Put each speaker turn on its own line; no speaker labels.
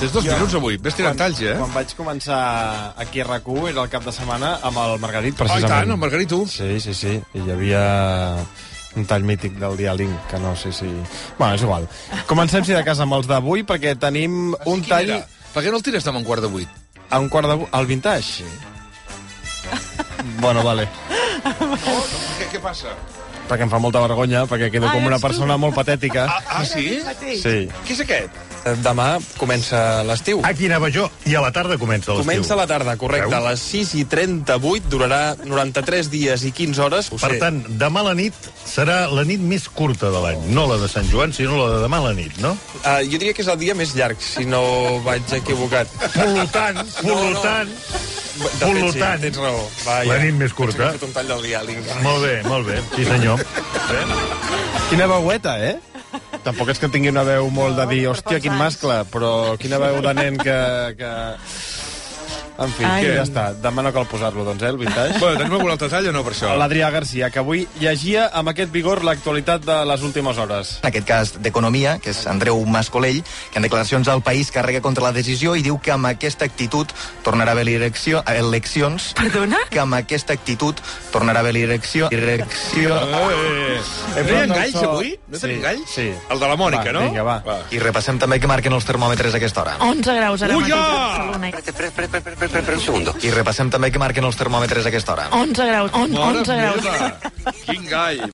Tens dos minuts avui. Ves tirant talls, eh?
Quan vaig començar aquí a rac era el cap de setmana amb el Margarit,
Oh, i
precisament.
tant, el Margarito.
Sí, sí, sí. I hi havia un tall mític del diàling, que no sé si... Bueno, és igual. Comencem, si de casa, amb els d'avui, perquè tenim un
Quin
tall
era? Per què no el tires demà a un quart de vuit?
a un quart de... al vintage. Bueno, vale.
Què, què passa?
Perquè em fa molta vergonya, perquè quedo
Ah,
com una
ets tu.
persona molt patètica.
Ah, ah sí?
Sí.
Què és aquest?
Demà comença l'estiu.
Aquí anava jo, i a la tarda comença l'estiu.
Comença a la tarda, correcte. A
Veus?
les 6 i 38 durarà 93 dies i 15 hores. Ho
Per
sé.
tant, demà a la nit serà la nit més curta de l'any. No la de Sant Joan, sinó la de demà a la nit, no?
eh, jo diria que és el dia més llarg, si no vaig equivocat.
Per tant, per
No, no.
tant...
De fet,
Per
sí,
tant.
tens raó. Va,
La nit més
Penso que
curta.
he fet un tall del diàleg.
Molt bé, molt bé. Sí, senyor.
Quina veueta, eh? Tampoc és que tingui una veu molt de dir,
No, per
hòstia,
pocs
quin
anys."
mascle, però quina veu de nen que... que... En fi,
Ai.
Ai. ja està. Demà no cal posar-lo, doncs, eh, el vintage.
Bueno, tenim algun altre tall o no, per això?
L'Adrià Garcia, que avui llegia amb aquest vigor l'actualitat de les últimes hores.
en aquest cas d'Economia, que és Andreu Mascolell, que en declaracions al País carrega contra la decisió i diu que amb aquesta actitud tornarà a haver elecció, a eleccions...
Perdona?
Que amb aquesta actitud tornarà a haver elecció... elecció
Eh, No hi ha galls, avui? No tenim galls?
Sí.
El de la Mònica,
Va,
no?
vinga, va.
I repassem també que marquen els termòmetres a aquesta hora.
11 graus ara mateix
Uia!
a Barcelona.
I repassem també que marquen els termòmetres a aquesta hora.
11 graus, on,
Mare
11 graus.
meva! Quin gall!